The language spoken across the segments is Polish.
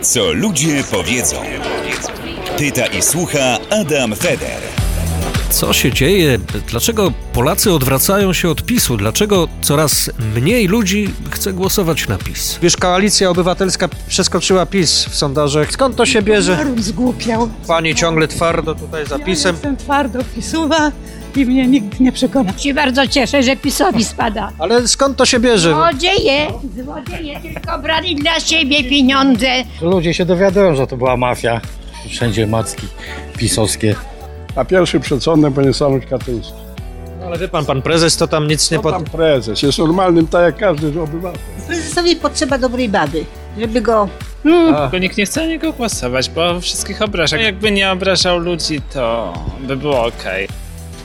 Co ludzie powiedzą. Pyta i słucha Adam Feder. Co się dzieje? Dlaczego Polacy odwracają się od PiSu? Dlaczego coraz mniej ludzi chce głosować na PiS? Wiesz, koalicja obywatelska przeskoczyła PiS w sondażach. Skąd to się bierze? Naród zgłupiał. Pani ciągle twardo tutaj za Ja PiSem. jestem twardo pisuwa i mnie nikt nie przekona. się bardzo cieszę, że PiSowi spada. Ale skąd to się bierze? Złodzieje, złodzieje tylko brali dla siebie pieniądze. Ludzie się dowiadują, że to była mafia. Wszędzie macki pisowskie. A pierwszy przed będzie Samuel Katyński. Ale wie pan, pan prezes to tam nic nie No To tam pod... prezes jest normalnym, tak jak każdy obywatel. Prezesowi potrzeba dobrej baby, żeby go Tylko nikt nie chce na niego głosować, bo wszystkich obraża. Jakby nie obrażał ludzi, to by było okej.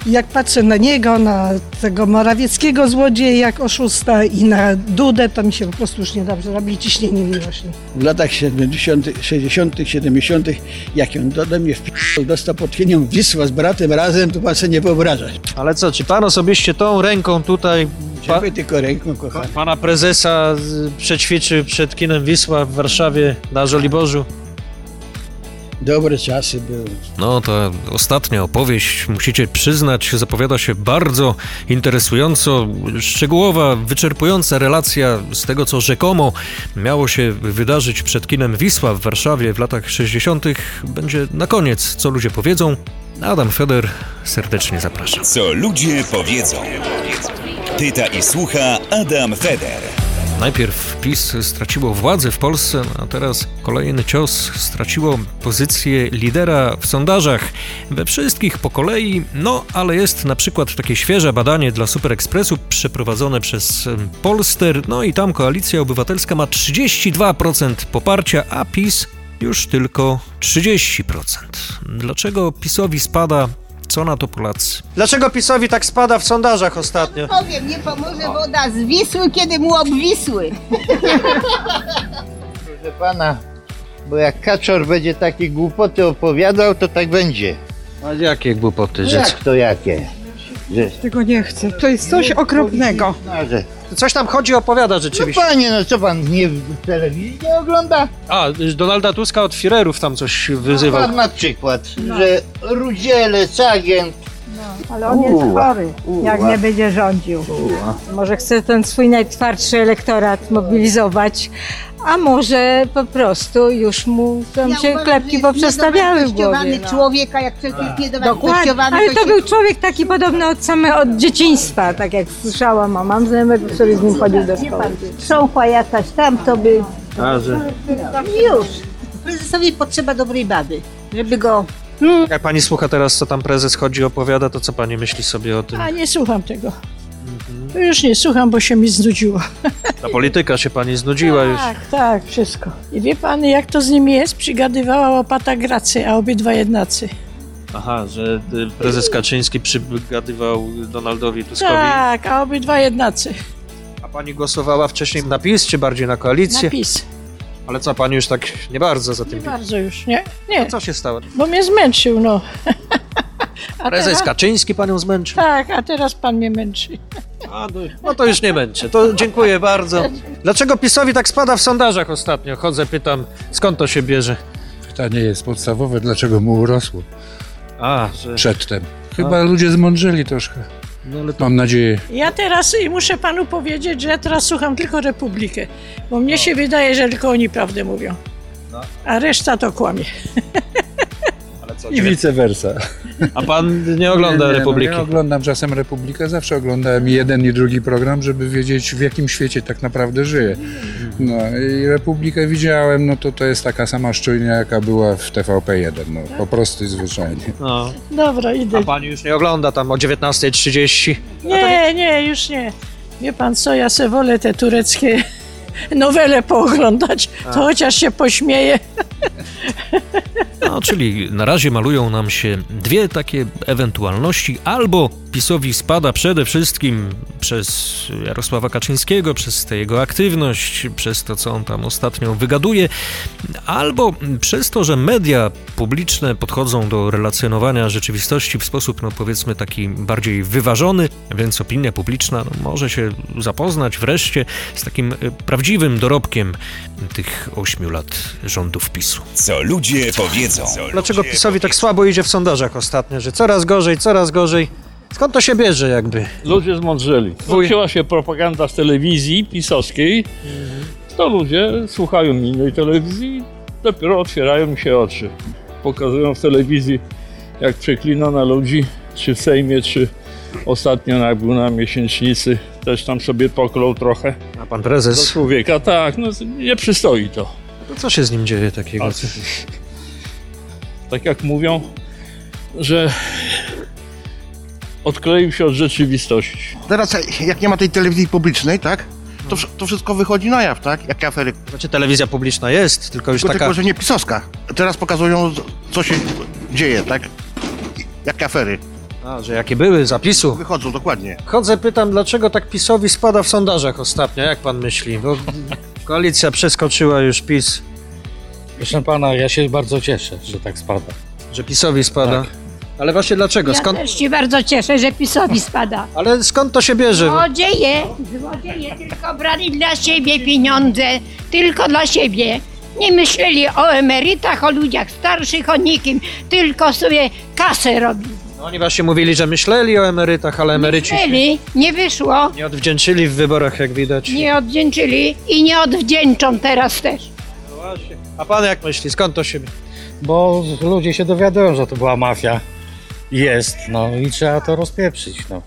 Jak patrzę na niego, na tego Morawieckiego złodzieja jak oszusta i na Dudę, to mi się po prostu już niedobrze robi ciśnienie mi rośnie. W latach 70., 60., 70., jak on do do mnie wpisał, dostał pod kienią Wisła z bratem razem, to pan sobie nie wyobraża. Ale co, czy pan osobiście tą ręką tutaj pa, Ciebie tylko ręką, kochany. pana prezesa z- przećwiczy przed kinem Wisła w Warszawie na Żoliborzu? Dobre czasy były. No, ta ostatnia opowieść, musicie przyznać, zapowiada się bardzo interesująco. Szczegółowa, wyczerpująca relacja z tego, co rzekomo miało się wydarzyć przed kinem Wisła w Warszawie w latach 60., będzie na koniec, co ludzie powiedzą. Adam Feder serdecznie zapraszam. Co ludzie powiedzą. Pyta i słucha Adam Feder. Najpierw PiS straciło władzę w Polsce, a teraz kolejny cios straciło pozycję lidera w sondażach. We wszystkich po kolei, no ale jest na przykład takie świeże badanie dla Superekspresu przeprowadzone przez em, Polster, no i tam Koalicja Obywatelska ma 32% poparcia, a PiS już tylko 30%. Dlaczego PiSowi spada? Co na to Polacy? Dlaczego PiSowi tak spada w sondażach ostatnio? powiem, nie pomoże woda z Wisły, kiedy mu obwisły. Proszę pana, bo jak kaczor będzie takie głupoty opowiadał, to tak będzie. A jakie głupoty, że Jak to jakie? Że... Tego nie chcę. To jest coś okropnego. No, że... Coś tam chodzi opowiada no rzeczywiście. panie, no co pan nie w telewizji nie ogląda? A, y, Donalda Tuska od firerów tam coś wyzywał. Pan na przykład, że Rudzielec, agent. Ale on jest Uła, chory, jak uła. nie będzie rządził. Może chce ten swój najtwardszy elektorat mobilizować, a może po prostu już mu tam Ja się uważam, że klepki jest poprzestawiały w głowie. niedowartościowany No. człowieka, jak ktoś jest Dokładnie, niedowartościowany, ale to się był człowiek taki podobny od samego od dzieciństwa, tak jak słyszałam, a mam znajomego, który z nim chodził do szkoły. trząchła jakaś tam, to by A, że... już. Prezesowi potrzeba dobrej baby, żeby go Jak pani słucha teraz, co tam prezes chodzi, opowiada, to co pani myśli sobie o tym? A nie słucham tego. To Już nie słucham, bo się mi znudziło. Ta polityka się pani znudziła już. Tak, tak, wszystko. I wie pan, jak to z nimi jest? Przygadywała łopata gracy, a obydwa jednacy. Aha, że y, prezes Kaczyński przygadywał Donaldowi Tuskowi. Tak, a obydwa jednacy. A pani głosowała wcześniej na PiS, czy bardziej na koalicję? Napis. Ale co, pani już tak nie bardzo za Nie tym PiS. bardzo już, nie? Nie, Co się stało? bo mnie zmęczył, no. A Prezes teraz, Kaczyński panią zmęczył? tak, a teraz pan mnie męczy. A, no, no to już nie męczę, to dziękuję bardzo. Dlaczego PiSowi tak spada w sondażach ostatnio? Chodzę, pytam, skąd to się bierze? Pytanie jest podstawowe, dlaczego mu urosło A, że... przedtem. Chyba ludzie zmądrzeli troszkę. No ale to... Mam nadzieję. Ja teraz i muszę panu powiedzieć, że ja teraz słucham tylko Republikę, bo No. mnie się wydaje, że tylko oni prawdę mówią. A reszta to kłamie. Ale co, I vice versa. A pan nie ogląda Nie, nie, Republiki? No, ja oglądam czasem Republikę, zawsze oglądałem i jeden i drugi program, żeby wiedzieć w jakim świecie tak naprawdę żyję. No i Republikę widziałem, no to to jest taka sama szczujnia, jaka była w TVP1, no po prostu i zwyczajnie. No. Dobra, idę. A pani już nie ogląda tam o 19.30? Nie, nie, już nie. Wie pan co, ja se wolę te tureckie nowele pooglądać, to chociaż się pośmieję. No, czyli na razie malują nam się dwie takie ewentualności: albo PiSowi spada przede wszystkim przez Jarosława Kaczyńskiego, przez tę jego aktywność, przez to, co on tam ostatnio wygaduje, albo przez to, że media publiczne podchodzą do relacjonowania rzeczywistości w sposób, no powiedzmy, taki bardziej wyważony, więc opinia publiczna no, może się zapoznać wreszcie z takim e, prawdziwym dorobkiem tych ośmiu lat rządów PiSu. Co ludzie powiedzą. Dlaczego PiSowi tak słabo idzie w sondażach ostatnio, że coraz gorzej, coraz gorzej? Skąd to się bierze jakby? Ludzie zmądrzeli. Wróciła się propaganda z telewizji pisowskiej, to ludzie słuchają innej telewizji i dopiero otwierają mi się oczy. Pokazują w telewizji, jak przeklina na ludzi, czy w Sejmie, czy ostatnio jak był na miesięcznicy, też tam sobie poklął trochę. A pan prezes? Do człowieka, tak, no nie przystoi to. To co się z nim dzieje takiego? A, tak jak mówią, że odkleił się od rzeczywistości. Teraz jak nie ma tej telewizji publicznej, tak? To, wsz- to wszystko wychodzi na jaw, tak? Jakie afery. Znaczy telewizja publiczna jest, tylko już Tylko, taka... tylko, że nie pisowska. Teraz pokazują, z- co się dzieje, tak? Jakie afery. A, że jakie były, zapisu. Wychodzą, dokładnie. Chodzę, pytam, dlaczego tak PiSowi spada w sondażach ostatnio, jak pan myśli? Bo koalicja przeskoczyła już PiS. Proszę pana, ja się bardzo cieszę, że tak spada. Że PiSowi spada? Tak. Ale właśnie dlaczego? Ja No Skąd, też się bardzo cieszę, że PiSowi spada. ale skąd to się bierze? No. Złodzieje, złodzieje tylko brali dla siebie pieniądze, tylko dla siebie. Nie myśleli o emerytach, o ludziach starszych, o nikim, tylko sobie kasę robili. No, Oni właśnie mówili, że myśleli o emerytach, ale emeryci się Myśleli, nie wyszło, nie odwdzięczyli w wyborach, jak widać. nie odwdzięczyli i nie odwdzięczą teraz też. No A pan jak myśli, skąd to się bierze? Bo ludzie się dowiadują, że to była mafia. Jest, no i trzeba to rozpieprzyć, no.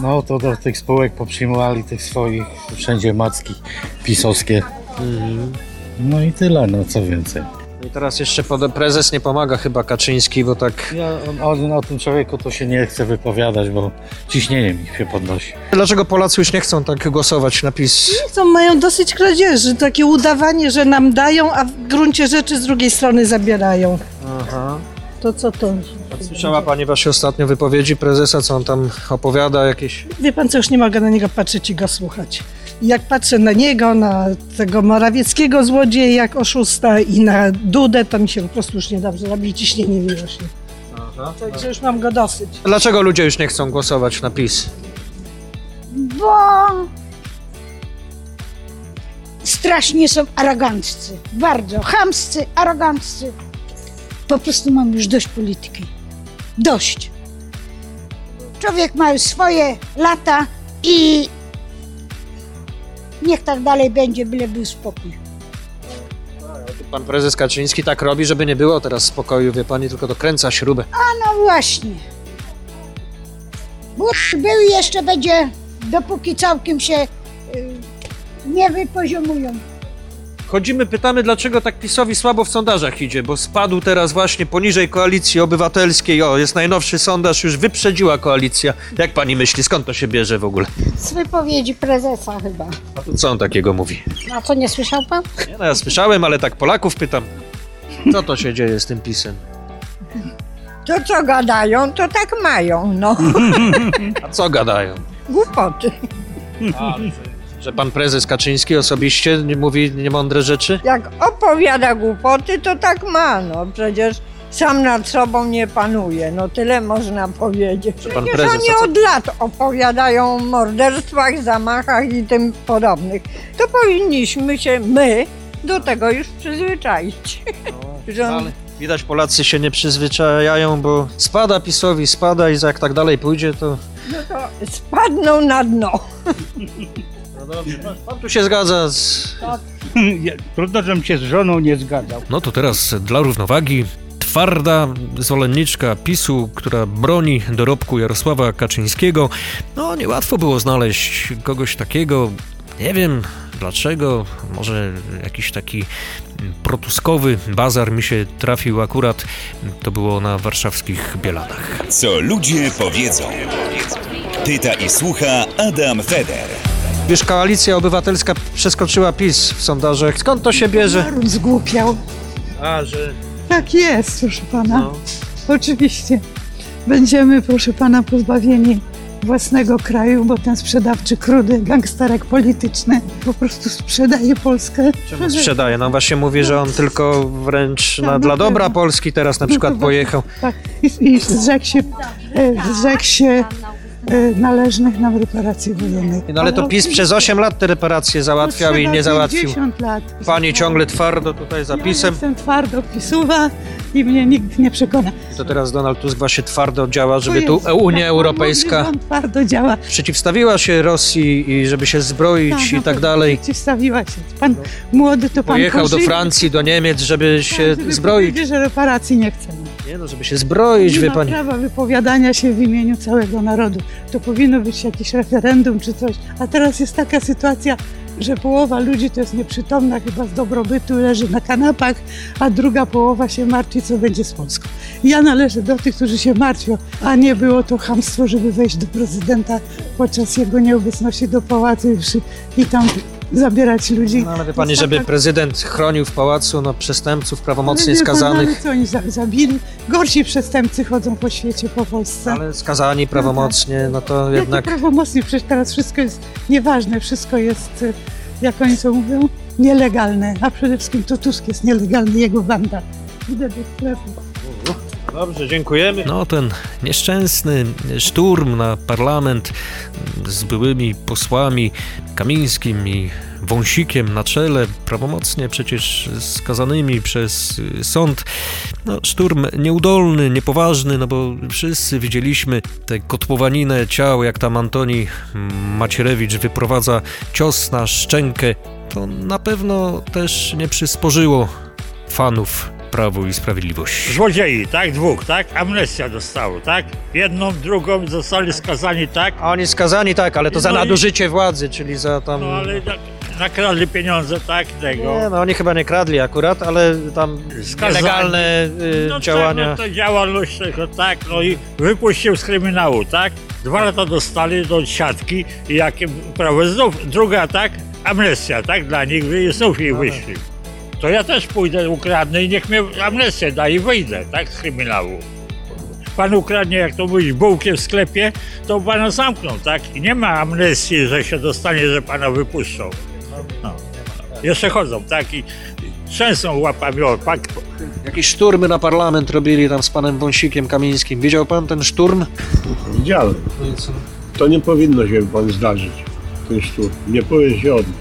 No to do tych spółek poprzyjmowali tych swoich, wszędzie macki pisowskie. Mhm. No i tyle, no co więcej. I teraz jeszcze pod... prezes nie pomaga chyba Kaczyński, bo tak... Ja o, o, o tym człowieku to się nie chcę wypowiadać, bo ciśnienie mi się podnosi. Dlaczego Polacy już nie chcą tak głosować na PiS? Co mają dosyć kradzieży, takie udawanie, że nam dają, a w gruncie rzeczy z drugiej strony zabierają. Aha. To co to? Słyszała pani właśnie ostatnio wypowiedzi prezesa, co on tam opowiada, jakieś... Wie pan co, już nie mogę na niego patrzeć i go słuchać. Jak patrzę na niego, na tego Morawieckiego złodzieja, jak oszusta i na Dudę, to mi się po prostu już nie dobrze robi ciśnienie miłośnie. Aha. Także już mam go dosyć. Dlaczego ludzie już nie chcą głosować na PiS? Bo strasznie są aroganccy. Bardzo. Chamscy, aroganccy. Po prostu mam już dość polityki. Dość. Człowiek ma już swoje lata i niech tak dalej będzie, byle był spokój. Pan prezes Kaczyński tak robi, żeby nie było teraz spokoju, wie pani, tylko dokręca śrubę. A no właśnie. Burz był i jeszcze będzie, dopóki całkiem się y, nie wypoziomują. Chodzimy, pytamy, dlaczego tak PiSowi słabo w sondażach idzie, bo spadł teraz właśnie poniżej koalicji obywatelskiej. O, jest najnowszy sondaż, już wyprzedziła koalicja. Jak pani myśli, skąd to się bierze w ogóle? Z wypowiedzi prezesa chyba. A tu co on takiego mówi? No, A co, nie słyszał pan? Nie, no ja słyszałem, ale tak Polaków pytam. Co to się dzieje z tym PiSem? To co gadają, to tak mają, no. A co gadają? Głupoty. Że pan prezes Kaczyński osobiście nie mówi niemądre rzeczy? Jak opowiada głupoty, to tak ma, no. Przecież sam nad sobą nie panuje, no tyle można powiedzieć. pan Przecież prezes, a co- oni od lat opowiadają o morderstwach, zamachach i tym podobnych. To powinniśmy się, my, do tego już przyzwyczaić. No, Że on- Widać, Polacy się nie przyzwyczajają, bo spada PiSowi, spada i jak tak dalej pójdzie, to... No to spadną na dno. Pan tu się zgadza z... Ja- Trudno, żebym się z żoną nie zgadzał. No to teraz dla równowagi twarda zwolenniczka PiSu, która broni dorobku Jarosława Kaczyńskiego. No niełatwo było znaleźć kogoś takiego, nie wiem dlaczego, może jakiś taki protuskowy bazar mi się trafił akurat, to było na warszawskich Bielanach. Co ludzie powiedzą. Pyta i słucha Adam Feder. Wiesz, koalicja obywatelska przeskoczyła PiS w sondażach. Skąd to się bierze? Naród zgłupiał. A, że... Tak jest, proszę pana. Oczywiście. Będziemy, proszę pana, pozbawieni własnego kraju, bo ten sprzedawczy krudy gangsterek polityczny po prostu sprzedaje Polskę. Czemu Sprzedaje. No właśnie mówi, że on tylko wręcz na, dla dobra Polski teraz na przykład pojechał. Tak, i, i zrzekł się, e, zrzekł się e, należnych nam reparacji wojennych. No ale to PiS przez 8 lat te reparacje załatwiał i nie załatwił. 50 lat. Pani ciągle twardo tutaj za PiSem. Jestem twardo pisuwa i mnie nikt nie przekona. tak, To teraz Donald Tusk właśnie twardo działa, żeby tu Unia Europejska On twardo działa. przeciwstawiła się Rosji i żeby się zbroić no i tak dalej. Przeciwstawiła się. Pan młody to pan Pojechał do Korzy- Francji, do Niemiec, Tak, żeby się zbroić. Mówi, że reparacji nie chcemy. Nie no, żeby się zbroić, Nie wie ma pani. prawa wypowiadania się w imieniu całego narodu. To powinno być jakieś referendum czy coś. A teraz jest taka sytuacja, że połowa ludzi to jest nieprzytomna chyba z dobrobytu, leży na kanapach, a druga połowa się martwi, co będzie z Polską. Ja należę do tych, którzy się martwią, a nie było to chamstwo, żeby wejść do prezydenta podczas jego nieobecności do pałacu i przy- i tam zabierać ludzi. No, Ale wie pani, żeby prezydent chronił w pałacu no, przestępców prawomocnie skazanych, Co oni za- zabili? Gorsi przestępcy chodzą po świecie, po Polsce. Ale skazani prawomocnie, no to jednak... jednak Jakie prawomocnie? Przecież teraz wszystko jest nieważne, wszystko jest, y, jak oni to mówią, nielegalne. A przede wszystkim to Tusk jest nielegalny, jego banda. Idę do sklepu. Dobrze, dziękujemy. No ten nieszczęsny szturm na parlament z byłymi posłami Kamińskim i Wąsikiem na czele, prawomocnie przecież skazanymi przez y, sąd. No, szturm nieudolny, niepoważny, no bo wszyscy widzieliśmy tę kotłowaninę ciał, jak tam Antoni Macierewicz wyprowadza cios na szczękę. To na pewno też nie przysporzyło fanów Prawo i Sprawiedliwość. Złodziei, tak? Dwóch, tak? Amnestia dostało, tak? Jedną, drugą zostali skazani, tak? A oni skazani, tak, ale to za No i- nadużycie władzy, czyli za tam... No ale na- nakradli pieniądze, tak? Tego. Nie, no oni chyba nie kradli akurat, ale tam Skazani. nielegalne y, no, działania. Tak, no to działalność tego, tak, no i wypuścił z kryminału, tak? Dwa lata dostali do siatki i jakie prawo znów, druga, tak? Amnestia, tak? Dla nich i znów Tak. i wyszli. To ja też pójdę, ukradnę i niech mnie amnestię da i wyjdę, tak? Z kryminału. Pan ukradnie, jak to mówić, bułkę w sklepie, to pana zamkną, tak? I nie ma amnestii, że się dostanie, że pana wypuszczą. No. Jeszcze chodzą, tak? I i trzęsą łapami, o, pak, Jakieś szturmy na parlament robili tam z panem Wąsikiem Kamińskim. Widział pan ten szturm? Widziałem. To nie powinno się pan zdarzyć, ten szturm. Nie powinien się odbyć.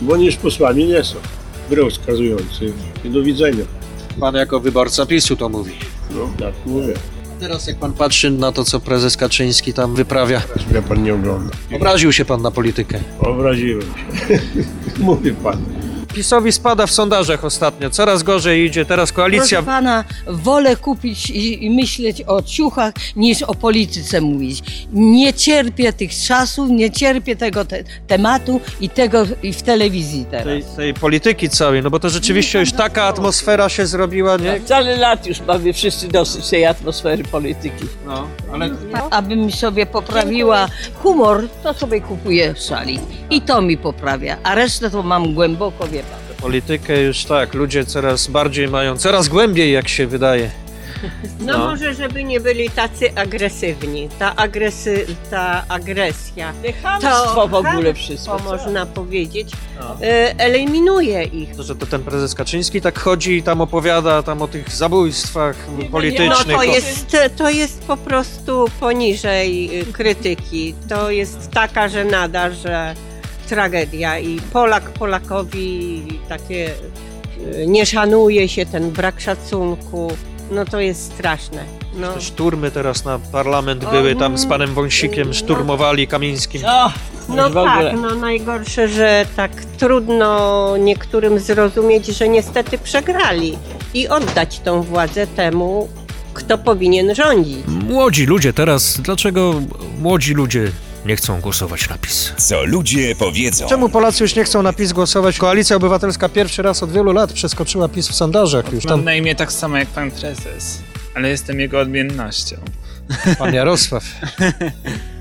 Bo oni już posłami nie są. Grą skazujący. I do widzenia. Pan jako wyborca PiSu to mówi. No, tak mówię. Teraz jak pan patrzy na to, co prezes Kaczyński tam wyprawia. Mnie pan nie ogląda. Obraził się pan na politykę. Obraziłem się. Mówi pan. PiSowi spada w sondażach ostatnio, coraz gorzej idzie, teraz koalicja... Proszę pana, wolę kupić i, i myśleć o ciuchach, niż o polityce mówić. Nie cierpię tych czasów, nie cierpię tego te, tematu i tego i w telewizji teraz. Tej, tej polityki całej, no bo to rzeczywiście już taka atmosfera się zrobiła, nie? Cały lat już mamy wszyscy dosyć tej atmosfery polityki. No, Abym sobie poprawiła humor, to sobie kupuję szalik. I to mi poprawia, a resztę to mam głęboko, wie pan. Politykę już tak, ludzie coraz bardziej mają, coraz głębiej jak się wydaje. No, No. może, żeby nie byli tacy agresywni. Ta, agresy, ta agresja. chamstwo w ogóle wszystko, To co? można powiedzieć. e, Eliminuje ich. To, że to ten prezes Kaczyński tak chodzi i tam opowiada tam o tych zabójstwach politycznych. No, o- to, jest, to jest po prostu poniżej y, krytyki. To jest taka żenada, że tragedia i Polak Polakowi takie y, nie szanuje się, ten brak szacunku. No to jest straszne. No. Te szturmy teraz na parlament były, tam z panem Wąsikiem szturmowali Kamińskim. No w ogóle. tak, no najgorsze, że tak trudno niektórym zrozumieć, że niestety przegrali i oddać tą władzę temu, kto powinien rządzić. Młodzi ludzie teraz, dlaczego młodzi ludzie nie chcą głosować na PiS? Co ludzie powiedzą? Czemu Polacy już nie chcą na PiS głosować? Koalicja Obywatelska pierwszy raz od wielu lat przeskoczyła PiS w sondażach już. Mam Tam na imię tak samo jak pan prezes, ale jestem jego odmiennością. pan Jarosław.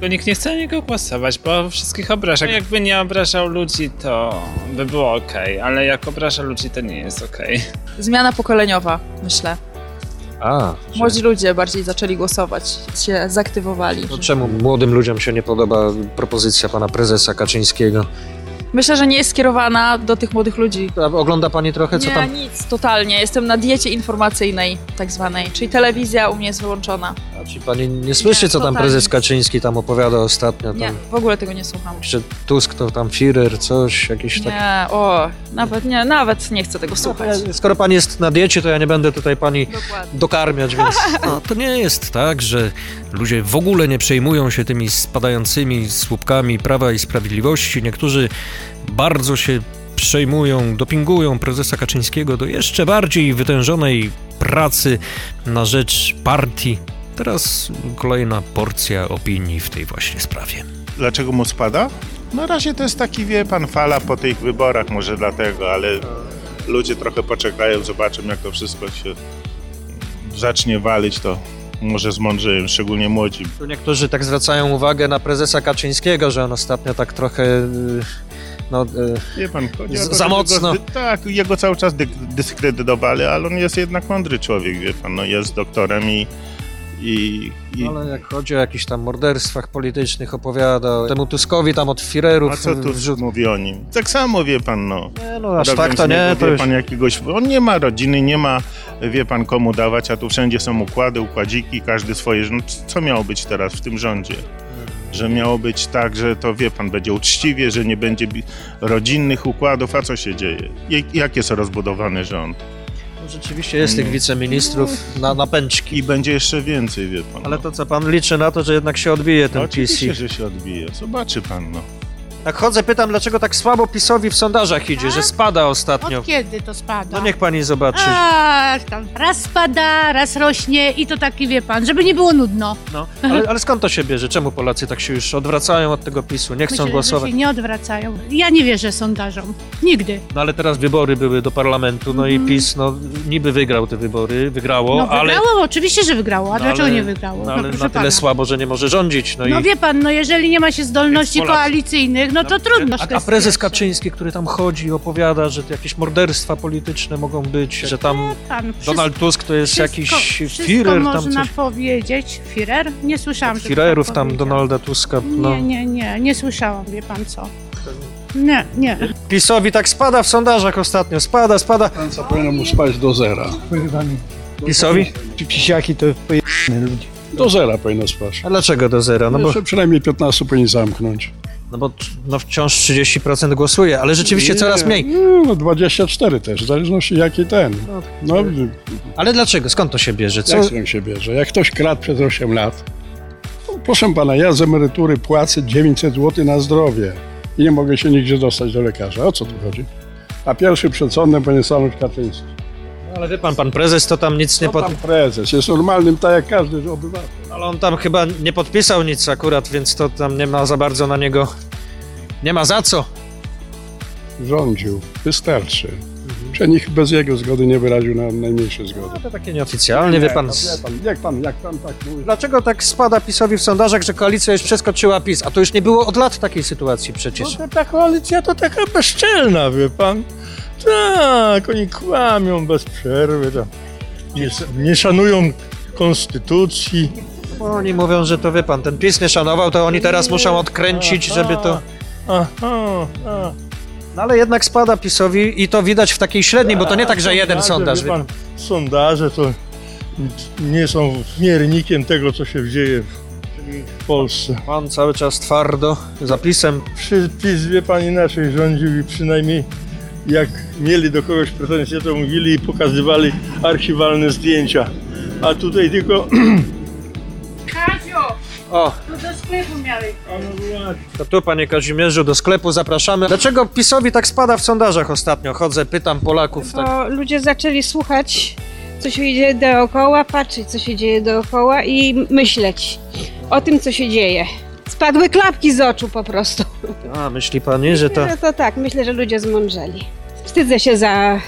Bo nikt nie chce na niego głosować, bo wszystkich obraża. Jakby nie obrażał ludzi, to by było okej, ale jak obraża ludzi, to nie jest okej. Zmiana pokoleniowa, myślę. A, Młodzi ludzie bardziej zaczęli głosować, się zaktywowali. to No czemu młodym ludziom się nie podoba propozycja pana prezesa Kaczyńskiego? Myślę, że nie jest skierowana do tych młodych ludzi. A Ogląda pani trochę, co nie, tam? nic, totalnie. Jestem na diecie informacyjnej tak zwanej, czyli telewizja u mnie jest wyłączona. A czy pani nie słyszy, co tam totalnie. prezes Kaczyński tam opowiada ostatnio? Nie, Tam, w ogóle tego nie słucham. jeszcze Tusk, to tam Führer, coś, jakieś takie... Nie, o, nawet nie, nawet nie chcę tego słuchać. No, Skoro pani jest na diecie, to ja nie będę tutaj pani dokarmiać, więc... No, to nie jest tak, że ludzie w ogóle nie przejmują się tymi spadającymi słupkami prawa i sprawiedliwości. Niektórzy bardzo się przejmują, dopingują prezesa Kaczyńskiego do jeszcze bardziej wytężonej pracy na rzecz partii. Teraz kolejna porcja opinii w tej właśnie sprawie. Dlaczego mu spada? Na razie to jest taki, wie pan, fala po tych wyborach, może dlatego, ale ludzie trochę poczekają, zobaczą jak to wszystko się zacznie walić, to może zmądrzeją, szczególnie młodzi. Tu niektórzy tak zwracają uwagę na prezesa Kaczyńskiego, że on ostatnio tak trochę... y, No, y, Wie pan, chodzi o z- to, za żeby go mocno. zdy- tak, jego cały czas dyk- dyskredytowali, ale on jest jednak mądry człowiek, wie pan, no, jest doktorem i... i, i... Ale jak chodzi o jakichś tam morderstwach politycznych, opowiada temu Tuskowi tam od Firerów. A co tu mówi o nim? Tak samo wie pan, no. Nie, no, aż tak to nie, to wie już- pan jakiegoś. On nie ma rodziny, nie ma, wie pan komu dawać, a tu wszędzie są układy, układziki, każdy swoje. No, c- co miało być teraz w tym rządzie? Że miało być tak, że to wie pan, będzie uczciwie, że nie będzie bi- rodzinnych układów, a co się dzieje? Jak, jak jest rozbudowany rząd? No, Rzeczywiście jest tych wiceministrów na, na pęczki. I będzie jeszcze więcej, wie pan. no. Ale to co, pan liczy na to, że jednak się odbije ten Oczywiście, PC? że się odbije. Zobaczy pan, no. Tak chodzę, pytam, dlaczego tak słabo PiSowi w sondażach idzie, że spada ostatnio. Od kiedy to spada? No niech pani zobaczy. Ach, tam raz spada, raz rośnie i to taki wie pan, żeby nie było nudno. No, ale, ale skąd to się bierze? Czemu Polacy tak się już odwracają od tego PiSu, nie chcą Myślę, głosować? Że się nie odwracają. Ja nie wierzę sondażom. Nigdy. No ale teraz wybory były do parlamentu, no i PiS no, niby wygrał te wybory, wygrało, Mhm. No ale... wygrało, oczywiście, że wygrało. A no, dlaczego ale- nie wygrało? No, ale na proszę tyle pana. słabo, że nie może rządzić. No, No i... wie pan, no jeżeli nie ma się zdolności Więc Polacy- koalicyjnych, no to trudno. A, a prezes Kaczyński, który tam chodzi i opowiada, że to jakieś morderstwa polityczne mogą być, że tam pan, wszystko- Donald Tusk to jest jakiś wszystko Führer, tam można coś. powiedzieć. Firer? Nie słyszałam. żeby Firerów pan tam Donalda Tuska. No. Nie, nie, nie, nie słyszałam, wie pan co. Nie, nie. PiSowi tak spada w sondażach ostatnio, spada, spada. Co powinno mu spać do zera. PiSowi? Ci pisiaki to pojebane ludzie. Do zera powinno spać. A dlaczego do zera? No bo, Jeszcze przynajmniej 15 powinien zamknąć. no bo no wciąż 30% głosuje, ale rzeczywiście Nie, coraz mniej. nie, No 24 też, w zależności jaki ten. No, tak. Ale dlaczego? Skąd to się bierze? Co? jak się się bierze? Jak ktoś kradł przez 8 lat, no, proszę pana, ja z emerytury płacę 900 zł na zdrowie i nie mogę się nigdzie dostać do lekarza. O co tu chodzi? A pierwszy przed sądem powinien stanąć Kaczyński. Ale wie pan, pan prezes to tam nic nie No, pan pod... prezes jest normalnym, tak jak każdy obywatel. Ale on tam chyba nie podpisał nic akurat, więc to tam nie ma za bardzo na niego... Nie ma za co. rządził. Wystarczy. Że nikt bez jego zgody nie wyraził na najmniejszej zgody. to takie nieoficjalnie, wie pan. no wie pan, Jak pan, jak pan tak mówi? Dlaczego tak spada PiSowi w sondażach, że koalicja już przeskoczyła PiS? A to już nie było od lat takiej sytuacji przecież. No, ta koalicja to taka bezczelna, wie pan. Tak, oni kłamią bez przerwy. Tam. Nie, nie szanują konstytucji. Bo oni mówią, że to wie pan, ten PiS nie szanował, to oni teraz muszą odkręcić, żeby to... Aha, a. No ale jednak spada PiSowi i to widać w takiej średniej, bo to nie tak, że jeden Sondaże, sondaż. wie Pan, sondaże to nie są miernikiem tego, co się dzieje w Polsce. Pan cały czas twardo, zapisem. Przy PiS, wie pan, inaczej rządził i przynajmniej jak mieli do kogoś pretensje, to mówili i pokazywali archiwalne zdjęcia. A tutaj tylko... Kazio, O, tu do sklepu miałeś. to tu panie Kazimierzu, do sklepu zapraszamy. Dlaczego PiSowi tak spada w sondażach ostatnio? Chodzę, pytam Polaków. Tak. Bo ludzie zaczęli słuchać, co się dzieje dookoła, patrzeć, co się dzieje dookoła i myśleć o tym, co się dzieje. Spadły klapki z oczu po prostu. A, myśli pani, że to... No to tak, myślę, że ludzie zmądrzeli. Wstydzę się za,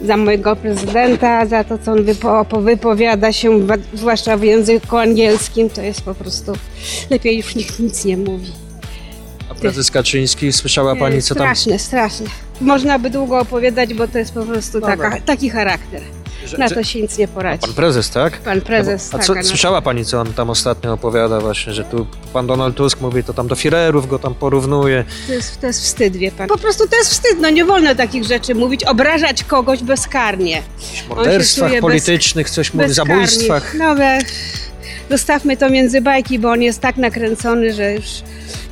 za mojego prezydenta, za to, co on wypo, wypowiada się, wa- zwłaszcza w języku angielskim. To jest po prostu... Lepiej już nikt nic nie mówi. A prezes Kaczyński, słyszała pani, co tam... Straszne, straszne. Można by długo opowiadać, bo to jest po prostu taka, taki charakter. Że- Na że- to się nic nie poradzi. Pan prezes, tak? Pan prezes, A tak, co, a no. słyszała pani, co on tam ostatnio opowiada właśnie, że tu pan Donald Tusk mówi, to tam do Firerów go tam porównuje. To jest, to jest wstyd, wie pan. Po prostu to jest wstyd, no nie wolno takich rzeczy mówić, obrażać kogoś bezkarnie. W On się morderstwach czuje bez- politycznych coś mówi, bezkarnie. zabójstwach. No we, zostawmy to między bajki, bo on jest tak nakręcony, że już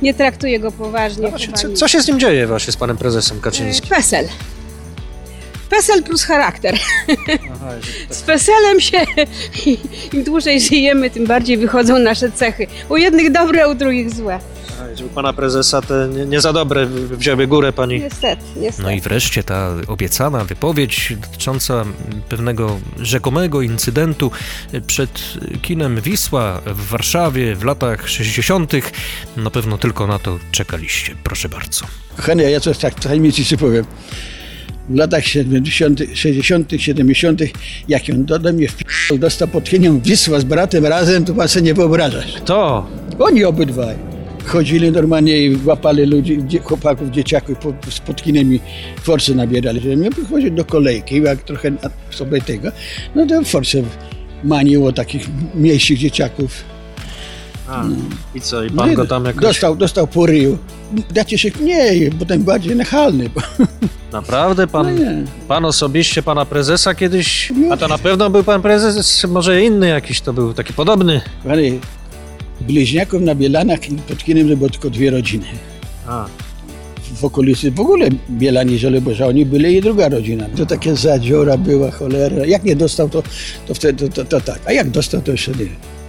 nie traktuje go poważnie. chyba No Co, nikt. co się z nim dzieje właśnie z panem prezesem Kaczyńskim? Pesel. Pesel plus charakter. Z peselem się, im dłużej żyjemy, tym bardziej wychodzą nasze cechy. U jednych dobre, a u drugich złe. Żeby pana prezesa te nie, nie za dobre w- wzięły górę pani. Niestety, niestety. No i wreszcie ta obiecana wypowiedź dotycząca pewnego rzekomego incydentu przed kinem Wisła w Warszawie w latach 60. Na pewno tylko na to czekaliście. Proszę bardzo. Kochany, ja coś tak tajemnicy ci powiem. W latach 70., 60., 70., jak on do, do mnie wpisał, dostał pod kienią Wisła z bratem razem, to pan sobie nie wyobrażasz. To? Oni obydwaj. Chodzili normalnie i łapali ludzi, dzie- chłopaków, dzieciaków po, z podkinami force nabierali. Że My chodzili do kolejki, jak trochę na- sobie tego, no to force maniło takich mniejszych dzieciaków. A, I co, i pan go tam jakoś... No dostał, dostał po ryju. Dacie się mniej, potem bardziej nachalny. Bo... Naprawdę pan, No nie. pan osobiście, pana prezesa kiedyś? A to na pewno był pan prezes, czy może inny jakiś to był, taki podobny? Ale bliźniaków na Bielanach i pod Kinem to było tylko dwie rodziny. A. W okolicy w ogóle Bielani Żoliborza, oni byli i druga rodzina. To takie zadziora była, cholera. Jak nie dostał, to, to wtedy to, to, to tak. A jak dostał, to jeszcze nie.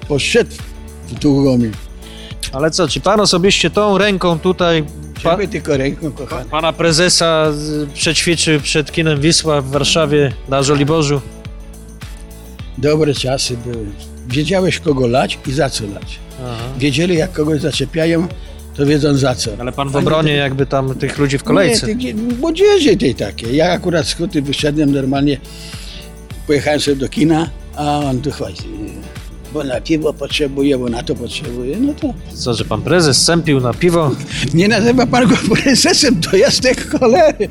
Poszedł w długą mi. Ale co, czy pan osobiście tą ręką tutaj... Pa, tylko ręką, kochany. pana prezesa z- przećwiczył przed kinem Wisła w Warszawie na Żoliborzu? Dobre czasy były. Wiedziałeś, kogo lać i za co lać. Wiedzieli, jak kogoś zaczepiają, to wiedzą za co. Ale pan w obronie jakby tam tych ludzi w Nie, kolejce. tej- młodzieży tej takiej. Ja akurat z huty wyszedłem normalnie, pojechałem sobie do kina, a on tu chodzi. Bo na piwo potrzebuje, bo na to potrzebuje, no to... Co, że pan prezes sępił na piwo? Nie nazywa pan go prezesem, to jasne cholery.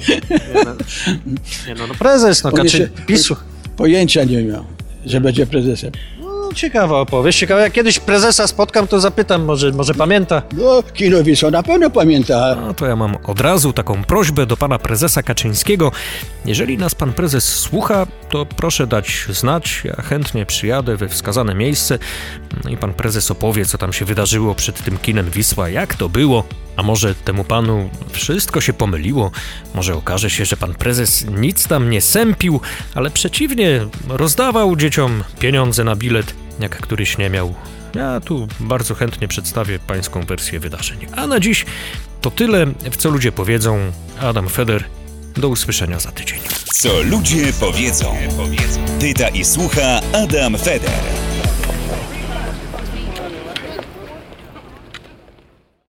Nie no, no prezes, no On Kaczy... jeszcze- PiSu. Pojęcia nie miał, że będzie prezesem. No, ciekawa opowieść, ciekawa. Jak kiedyś prezesa spotkam, to zapytam, może, może pamięta. No, kino Wisła na pewno pamięta. No to ja mam od razu taką prośbę do pana prezesa Kaczyńskiego. Jeżeli nas pan prezes słucha, to proszę dać znać. Ja chętnie przyjadę we wskazane miejsce No i pan prezes opowie, co tam się wydarzyło przed tym kinem Wisła, jak to było. A może temu panu wszystko się pomyliło? Może okaże się, że pan prezes nic tam nie sępił, ale przeciwnie, rozdawał dzieciom pieniądze na bilet, jak któryś nie miał. Ja tu bardzo chętnie przedstawię pańską wersję wydarzeń. A na dziś to tyle, w co ludzie powiedzą. Adam Feder, do usłyszenia za tydzień. Co ludzie powiedzą. Pyta i słucha Adam Feder.